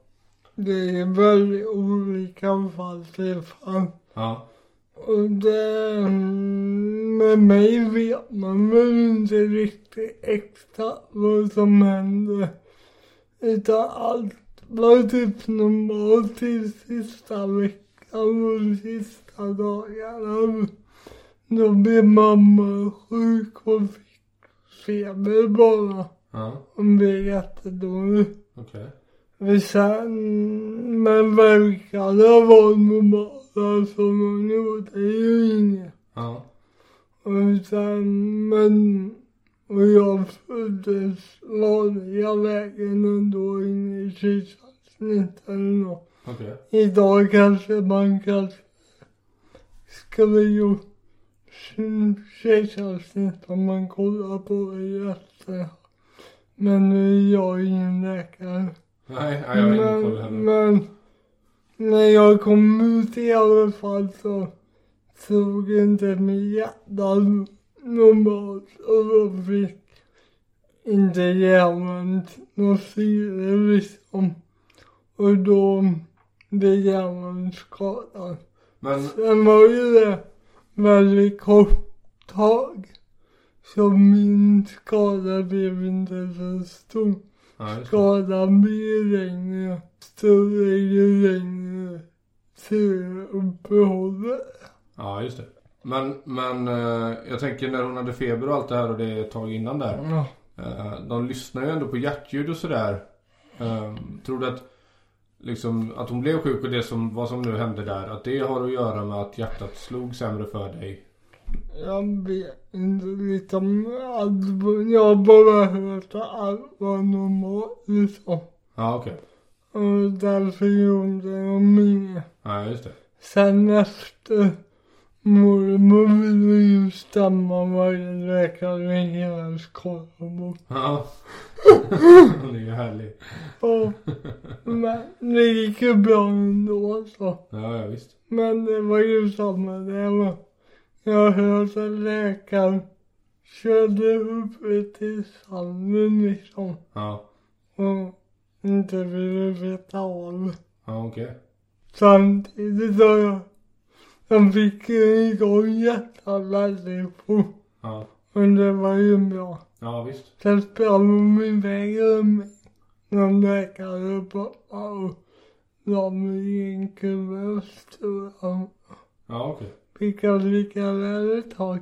Speaker 2: Det är väldigt olika fall till fall.
Speaker 1: Ja,
Speaker 2: Och det, mm, med mig vet man väl inte riktigt exakt vad som hände. Utan allt var typ normalt till sista veckan och sista dagarna. Då blev mamma sjuk och fick feber bara.
Speaker 1: ja,
Speaker 2: Hon blev jättedålig.
Speaker 1: okej.
Speaker 2: För sen, men verkarna var normala som Alltså, hon gjorde ju inget.
Speaker 1: Ja.
Speaker 2: Och sen, men, och jag föddes vanliga vägen ändå in i kejsarsnitt eller nåt.
Speaker 1: Okej.
Speaker 2: Idag kanske man kanske skulle ju kejsarsnitt om man kollar på det i efterhand. Men nu är jag ingen läkare.
Speaker 1: Nej, nej, jag har ingen koll
Speaker 2: Men,
Speaker 1: heller.
Speaker 2: men när jag kom ut i alla fall så slog inte mitt hjärta normalt och jag fick inte hjärnan något syre liksom. Och då blev hjärnan skadad.
Speaker 1: Men,
Speaker 2: Sen var ju det väldigt kort tag. Så min skada blev inte så stor.
Speaker 1: ja, just det.
Speaker 2: Skadan blir längre, större ju längre ser uppehållet.
Speaker 1: Ja, just det. Men, men eh, jag tänker när hon hade feber och allt det här och det är ett tag innan där.
Speaker 2: Ja.
Speaker 1: Eh, De lyssnar ju ändå på hjärtljud och sådär. Eh, Tror du att, liksom, att hon blev sjuk och det som, vad som nu hände där, att det har att göra med att hjärtat slog sämre för dig?
Speaker 2: Jag vet inte liksom allt. Jag har bara hört att allt var normalt liksom.
Speaker 1: Ja, okej.
Speaker 2: Och därför gjorde de inget.
Speaker 1: Ja, just det.
Speaker 2: Sen efter mormor ville ju stämma varje läkare i hela Skaraborg.
Speaker 1: Ja. Hon är ju härlig.
Speaker 2: Ja. Men det gick ju bra ändå så.
Speaker 1: Ja, ja visst.
Speaker 2: Men det var ju samma där va. Jag hörde att läkaren körde upp mig till sanden liksom.
Speaker 1: Ja.
Speaker 2: Och inte ville veta av det.
Speaker 1: Ja, okej.
Speaker 2: Samtidigt så jag, jag fick ju igång hjärtat väldigt fort.
Speaker 1: Ja.
Speaker 2: Men det var ju bra.
Speaker 1: Ja, visst.
Speaker 2: Sen sprang de iväg med någon läkare och pappa och la mig i en kuvös tror jag.
Speaker 1: Ja, okej.
Speaker 2: Fick jag lika väl ett tag.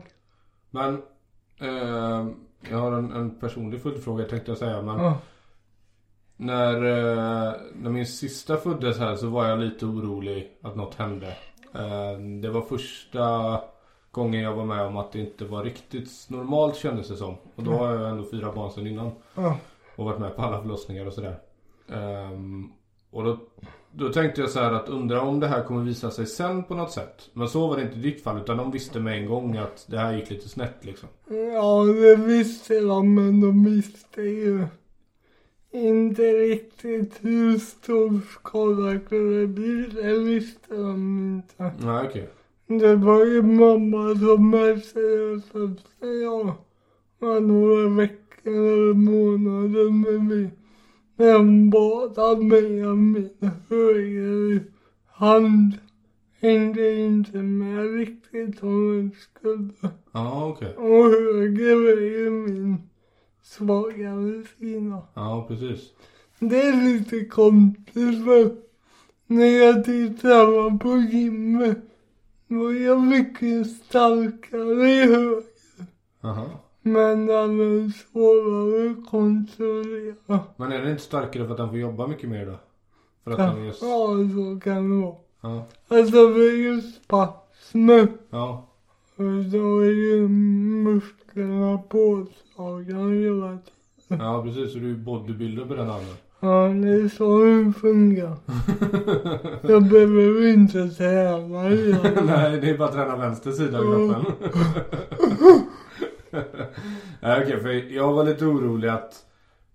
Speaker 1: Men, eh, jag har en, en personlig följdfråga tänkte jag säga. Men
Speaker 2: Ja.
Speaker 1: När, eh, när min sista föddes här så var jag lite orolig att något hände. Eh, det var första gången jag var med om att det inte var riktigt normalt kändes det som. Och då har jag ändå fyra barn sedan innan.
Speaker 2: Ja.
Speaker 1: Och varit med på alla förlossningar och sådär. Ehm, och då, då tänkte jag så här att undra om det här kommer visa sig sen på något sätt. Men så var det inte i ditt fall utan de visste med en gång att det här gick lite snett liksom.
Speaker 2: ja, det visste de, men de visste ju inte riktigt hur stor skada kunde bli. Det visste de inte.
Speaker 1: Nej okej.
Speaker 2: Det var ju mamma som efterlyste jag var några veckor eller månader med mig. När hon bad att mig och min högra hand hängde inte med riktigt om jag skulle.
Speaker 1: Ja okej.
Speaker 2: Och höger är ju min svagare sida.
Speaker 1: Ja precis.
Speaker 2: Det är lite konstigt för när jag tittar på gymmet då är jag mycket starkare i höger.
Speaker 1: Aha.
Speaker 2: Men den är svårare att kontrollera.
Speaker 1: Men är det inte starkare för att han får jobba mycket mer då? För att han är...
Speaker 2: Ja, så kan det vara.
Speaker 1: Ja.
Speaker 2: Alltså det är ju spasmer.
Speaker 1: Ja.
Speaker 2: Och då är ju musklerna påslagna hela tiden.
Speaker 1: Ja precis, så du är bodybuilder på den handen.
Speaker 2: Ja, det är så det funkar. Jag behöver inte träna igen.
Speaker 1: Nej, det är bara att träna vänster sida av kroppen. Nej, okej, för jag var lite orolig att,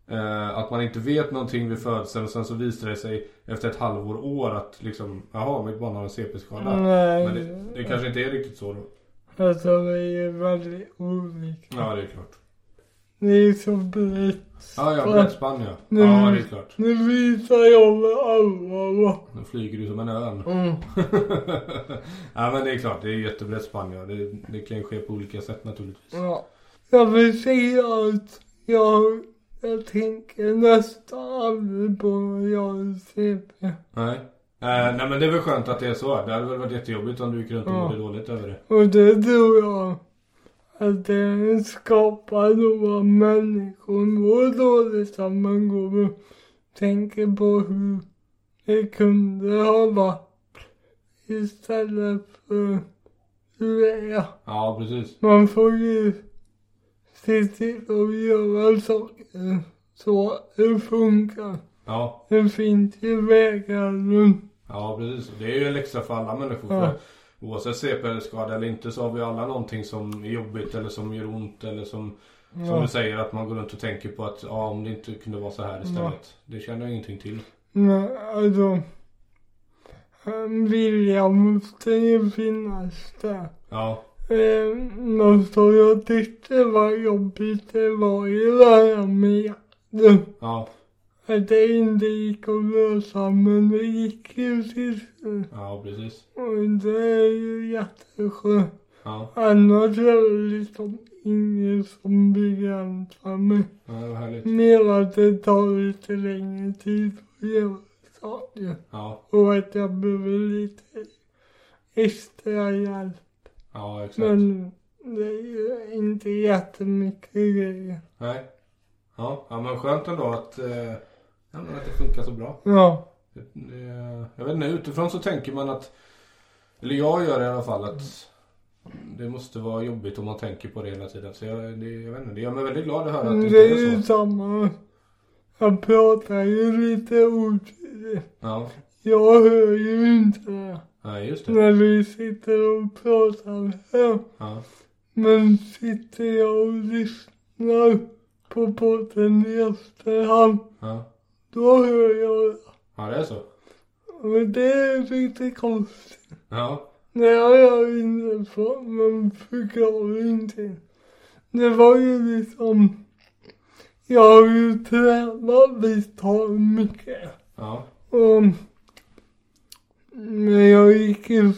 Speaker 1: eh, att man inte vet någonting vid födseln och sen så visar det sig efter ett halvår, år att liksom, jaha, mitt barn har en
Speaker 2: Mm.
Speaker 1: CP-skada. Men
Speaker 2: Nej,
Speaker 1: det, det kanske inte är riktigt så då.
Speaker 2: alltså det är väldigt olika.
Speaker 1: Ja, det är klart.
Speaker 2: Det är så brett.
Speaker 1: Ja, ja, brädspann ja.
Speaker 2: Nej,
Speaker 1: Ja,
Speaker 2: men-
Speaker 1: det är klart.
Speaker 2: Nu visar jag med alla.
Speaker 1: Nu flyger du som en örn.
Speaker 2: Mm.
Speaker 1: ja men det är klart, det är jättebrett Spanien. Det, det kan ju ske på olika sätt naturligtvis.
Speaker 2: Ja. Jag vill säga att jag, jag tänker nästan aldrig på när jag är CP.
Speaker 1: Nej. Eh, nej men det är väl skönt att det är så. Det hade väl varit jättejobbigt om du gick runt och
Speaker 2: Ja.
Speaker 1: mådde dåligt över det.
Speaker 2: Och det tror jag att det skapar några människor mår dåligt att man går och tänker på hur det kunde ha varit istället för hur det är.
Speaker 1: Ja, precis.
Speaker 2: Man får ju se till att göra saker så det funkar.
Speaker 1: Ja,
Speaker 2: Det finns ju vägar runt.
Speaker 1: ja precis. Det är ju en läxa för alla människor.
Speaker 2: Ja.
Speaker 1: För oavsett CP-skada eller inte så har vi alla någonting som är jobbigt eller som gör ont eller som, som
Speaker 2: Ja.
Speaker 1: du säger att man går runt och tänker på att ja, om det inte kunde vara så här istället. Det känner jag ingenting till.
Speaker 2: Men alltså, viljan måste ju finnas där.
Speaker 1: Ja,
Speaker 2: Eh, något som jag tyckte var jobbigt det var ju det här med hjärtat.
Speaker 1: ja,
Speaker 2: Att det inte gick att lösa men det gick ju till slut.
Speaker 1: ja precis.
Speaker 2: Och det är ju jätteskönt.
Speaker 1: Ja,
Speaker 2: Annars är det liksom inget som begränsar mig.
Speaker 1: ja det var härligt.
Speaker 2: Mer att det tar lite längre tid att göra saker.
Speaker 1: Ja,
Speaker 2: Och att jag behöver lite extra hjälp.
Speaker 1: ja exakt.
Speaker 2: Men det är ju inte jättemycket grejer.
Speaker 1: Nej. Ja, ja, men skönt ändå att, eh, ja, men att det funkar så bra.
Speaker 2: Ja.
Speaker 1: Det- Jag vet inte, utifrån så tänker man att, eller jag gör det i alla fall, att det måste vara jobbigt om man tänker på det hela tiden. Så jag, det, jag vet inte, det gör mig väldigt glad att höra att det
Speaker 2: Mm, Det är
Speaker 1: inte är
Speaker 2: ju
Speaker 1: så.
Speaker 2: samma. Jag pratar ju lite otydligt.
Speaker 1: Ja,
Speaker 2: Jag hör ju inte det.
Speaker 1: ja just det.
Speaker 2: När vi sitter och pratar här.
Speaker 1: Ja,
Speaker 2: Men sitter jag och lyssnar på podden i efterhand.
Speaker 1: ja.
Speaker 2: Då hör jag det.
Speaker 1: ja det är så.
Speaker 2: Men det är lite konstigt.
Speaker 1: Ja,
Speaker 2: Nej, jag har inte fått någon förklaring till. Det var ju liksom... Jag har ju tränat visst har mycket.
Speaker 1: ja,
Speaker 2: Och, när jag gick i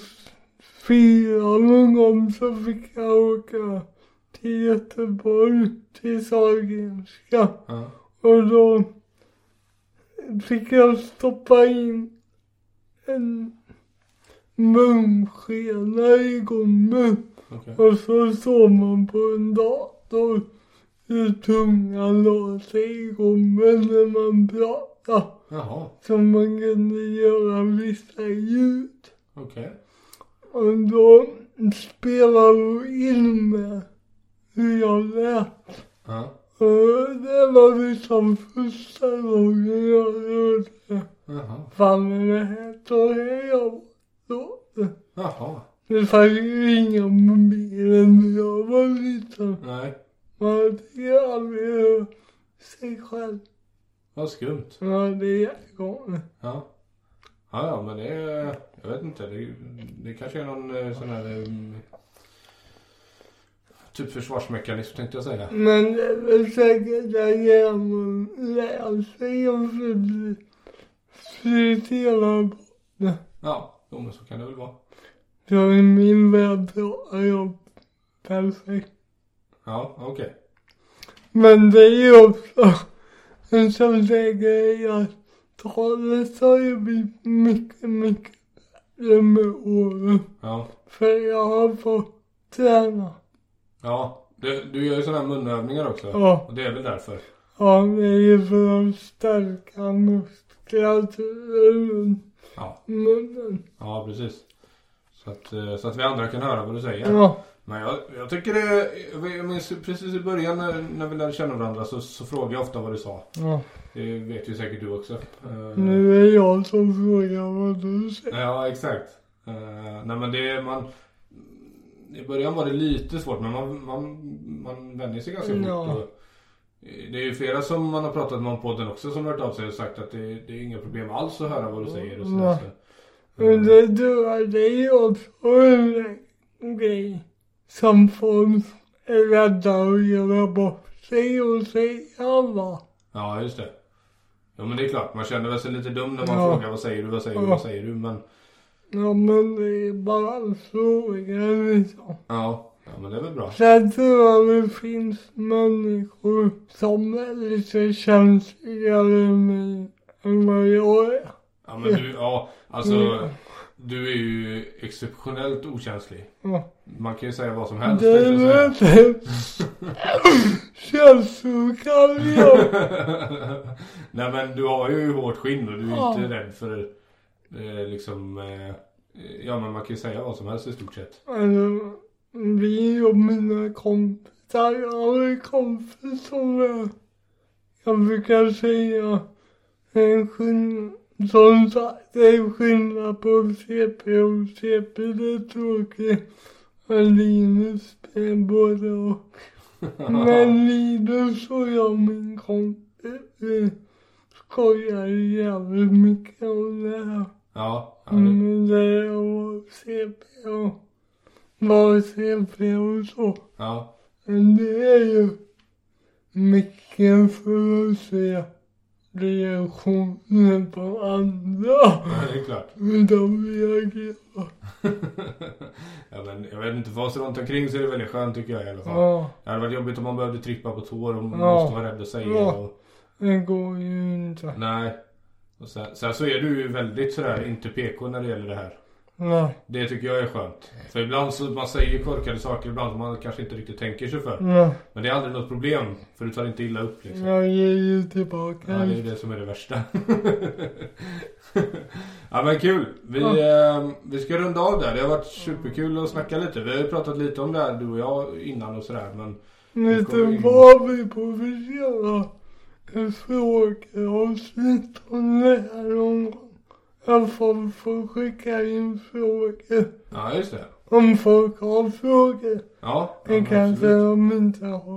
Speaker 2: fyran någon gång så fick jag åka till Göteborg, till Sahlgrenska.
Speaker 1: ja,
Speaker 2: Och då fick jag stoppa in en munskena i gommen.
Speaker 1: okej.
Speaker 2: Och så såg man på en dator hur tungan la sig i gommen när man pratade.
Speaker 1: Jaha,
Speaker 2: Så man kunde göra vissa ljud.
Speaker 1: okej.
Speaker 2: Och då spelade hon in med hur jag lät.
Speaker 1: Ja,
Speaker 2: Och det var liksom första gången jag hörde det.
Speaker 1: jaha,
Speaker 2: Fan men det här tar jag då.
Speaker 1: jaha.
Speaker 2: Det fanns ju inga mobiler när jag var liten.
Speaker 1: Nej,
Speaker 2: Man fick ju aldrig höra sig själv.
Speaker 1: vad skumt.
Speaker 2: Ja, det är jättekonstigt.
Speaker 1: Ja. Ja, ja, men det är, jag vet inte. Det, det kanske är någon eh, sån här em, typ försvarsmekanism tänkte jag säga.
Speaker 2: Men det är väl säkert där genom läsning och fri- fritera bort det.
Speaker 1: Ja, jo, men så kan det väl vara.
Speaker 2: Så i min värld pratar jag perfekt.
Speaker 1: Ja, okej.
Speaker 2: Men det är ju också en sån där grej att talet har ju blivit mycket, mycket bättre med åren.
Speaker 1: Ja,
Speaker 2: För jag har fått träna.
Speaker 1: ja. Du, du gör ju såna här munövningar också.
Speaker 2: Ja,
Speaker 1: Och det är väl därför.
Speaker 2: ja det är ju för att stärka muskulaturen runt
Speaker 1: Ja,
Speaker 2: munnen.
Speaker 1: ja precis. Så att, eh, så att vi andra kan höra vad du säger.
Speaker 2: Ja,
Speaker 1: Men jag, jag tycker det, jag minns precis i början när, när vi lärde känna varandra så, så frågade jag ofta vad du sa.
Speaker 2: ja.
Speaker 1: Det vet ju säkert du också. Eh,
Speaker 2: Nu är jag som frågar vad du säger.
Speaker 1: Ja, exakt. Eh, nej, men det är man... I början var det lite svårt, men man, man, man vänjer sig ganska fort.
Speaker 2: Ja.
Speaker 1: Och, eh, det är ju flera som man har pratat med om podden också som har hört av sig och sagt att det, det är inga problem alls att höra vad du säger. Och sådär,
Speaker 2: Nej.
Speaker 1: så. Eh,
Speaker 2: Men det du har, det är ju också en grej som folk är rädda att göra bort sig och säga va.
Speaker 1: Ja, just det. Ja, men det är klart. Man känner väl sig lite dum när man
Speaker 2: Ja.
Speaker 1: frågar vad säger du, vad säger du,
Speaker 2: Ja.
Speaker 1: vad säger du? Men
Speaker 2: Ja men det är bara en fråga liksom.
Speaker 1: ja, ja men det är väl bra.
Speaker 2: Sen tror jag det finns människor som är lite känsligare än mig än vad jag är.
Speaker 1: Ja, men du, ja, alltså.
Speaker 2: Mm.
Speaker 1: du är ju exceptionellt okänslig.
Speaker 2: Ja.
Speaker 1: Man kan ju säga vad som helst.
Speaker 2: Det
Speaker 1: tänkte jag
Speaker 2: är
Speaker 1: säga.
Speaker 2: inte känslokall jag.
Speaker 1: Nej men du har ju hårt skinn och du är
Speaker 2: Ja.
Speaker 1: inte rädd för eh, liksom eh, Ja men man kan ju säga vad som helst i stort sett.
Speaker 2: Alltså, vi och mina kompisar, jag har en kompis som jag, jag brukar säga en skillnad, som sagt det är skillnad på CP och CP, det är tråkigt. Och Linus är både och. Men Linus och jag, min kompis, vi skojar jävligt mycket om det här.
Speaker 1: Ja, ja, det,
Speaker 2: Mm, det är att se på vad CP och så.
Speaker 1: ja,
Speaker 2: Men det är ju mycket för att se reaktioner på andra.
Speaker 1: det är klart.
Speaker 2: Hur de reagerar.
Speaker 1: ja, men, jag vet inte, vad som runt omkring så är det väldigt skönt tycker jag i alla fall.
Speaker 2: Ja,
Speaker 1: Det hade varit jobbigt om man behövde trippa på tår och man
Speaker 2: Ja.
Speaker 1: måste vara rädd att säga.
Speaker 2: Ja.
Speaker 1: Och,
Speaker 2: det går ju inte.
Speaker 1: nej. Och sen, sen så är du ju väldigt sådär inte PK när det gäller det här.
Speaker 2: Nej,
Speaker 1: Det tycker jag är skönt. För ibland så man säger korkade saker ibland som man kanske inte riktigt tänker sig för.
Speaker 2: nej.
Speaker 1: Men det är aldrig något problem. För du tar inte illa upp liksom.
Speaker 2: Jag ger ju tillbaka.
Speaker 1: Ja, det är ju det som är det värsta. ja, men kul. Vi,
Speaker 2: Ja.
Speaker 1: eh, vi ska runda av där. Det har varit superkul att snacka lite. Vi har ju pratat lite om det här, du och jag, innan och sådär. Men
Speaker 2: Vet
Speaker 1: kommer
Speaker 2: du
Speaker 1: in.
Speaker 2: vad vi borde göra? En frågeavsnitt om det här någon gång. Att folk får skicka in frågor.
Speaker 1: ja, just det.
Speaker 2: Om folk har frågor.
Speaker 1: Ja, ja,
Speaker 2: Det
Speaker 1: men
Speaker 2: kanske
Speaker 1: absolut.
Speaker 2: de inte har.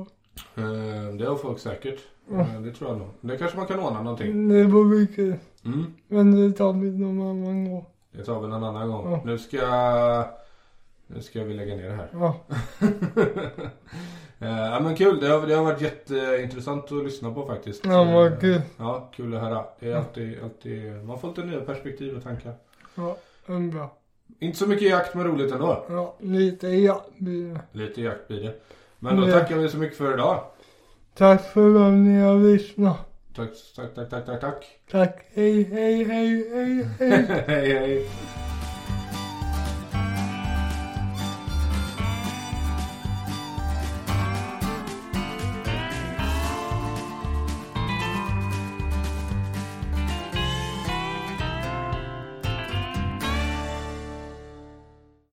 Speaker 1: Eh, Det har folk säkert.
Speaker 2: Ja.
Speaker 1: Eh, Det tror jag nog. Det kanske man kan ordna någonting.
Speaker 2: Det vore kul.
Speaker 1: Mm.
Speaker 2: Men det tar vi någon annan gång.
Speaker 1: Det tar vi någon annan gång.
Speaker 2: Ja.
Speaker 1: Nu ska... Nu ska vi lägga ner det här.
Speaker 2: Ja.
Speaker 1: Eh, ja, men kul. Det har, det har varit jätteintressant att lyssna på faktiskt.
Speaker 2: Ja,
Speaker 1: Eh,
Speaker 2: vad kul. Mm.
Speaker 1: Ja, kul att höra. Det är alltid, alltid, man får lite nya perspektiv och tankar.
Speaker 2: Ja, men bra.
Speaker 1: Inte så mycket jakt men roligt ändå.
Speaker 2: Ja, lite ja. blir det.
Speaker 1: Lite jakt blir det. Men då
Speaker 2: Mm.
Speaker 1: tackar vi så mycket för idag.
Speaker 2: Tack för att ni har lyssnat.
Speaker 1: Tack, tack, tack, tack, tack, tack.
Speaker 2: Tack. Hej, hej, hej, hej, hej.
Speaker 1: hej, hej.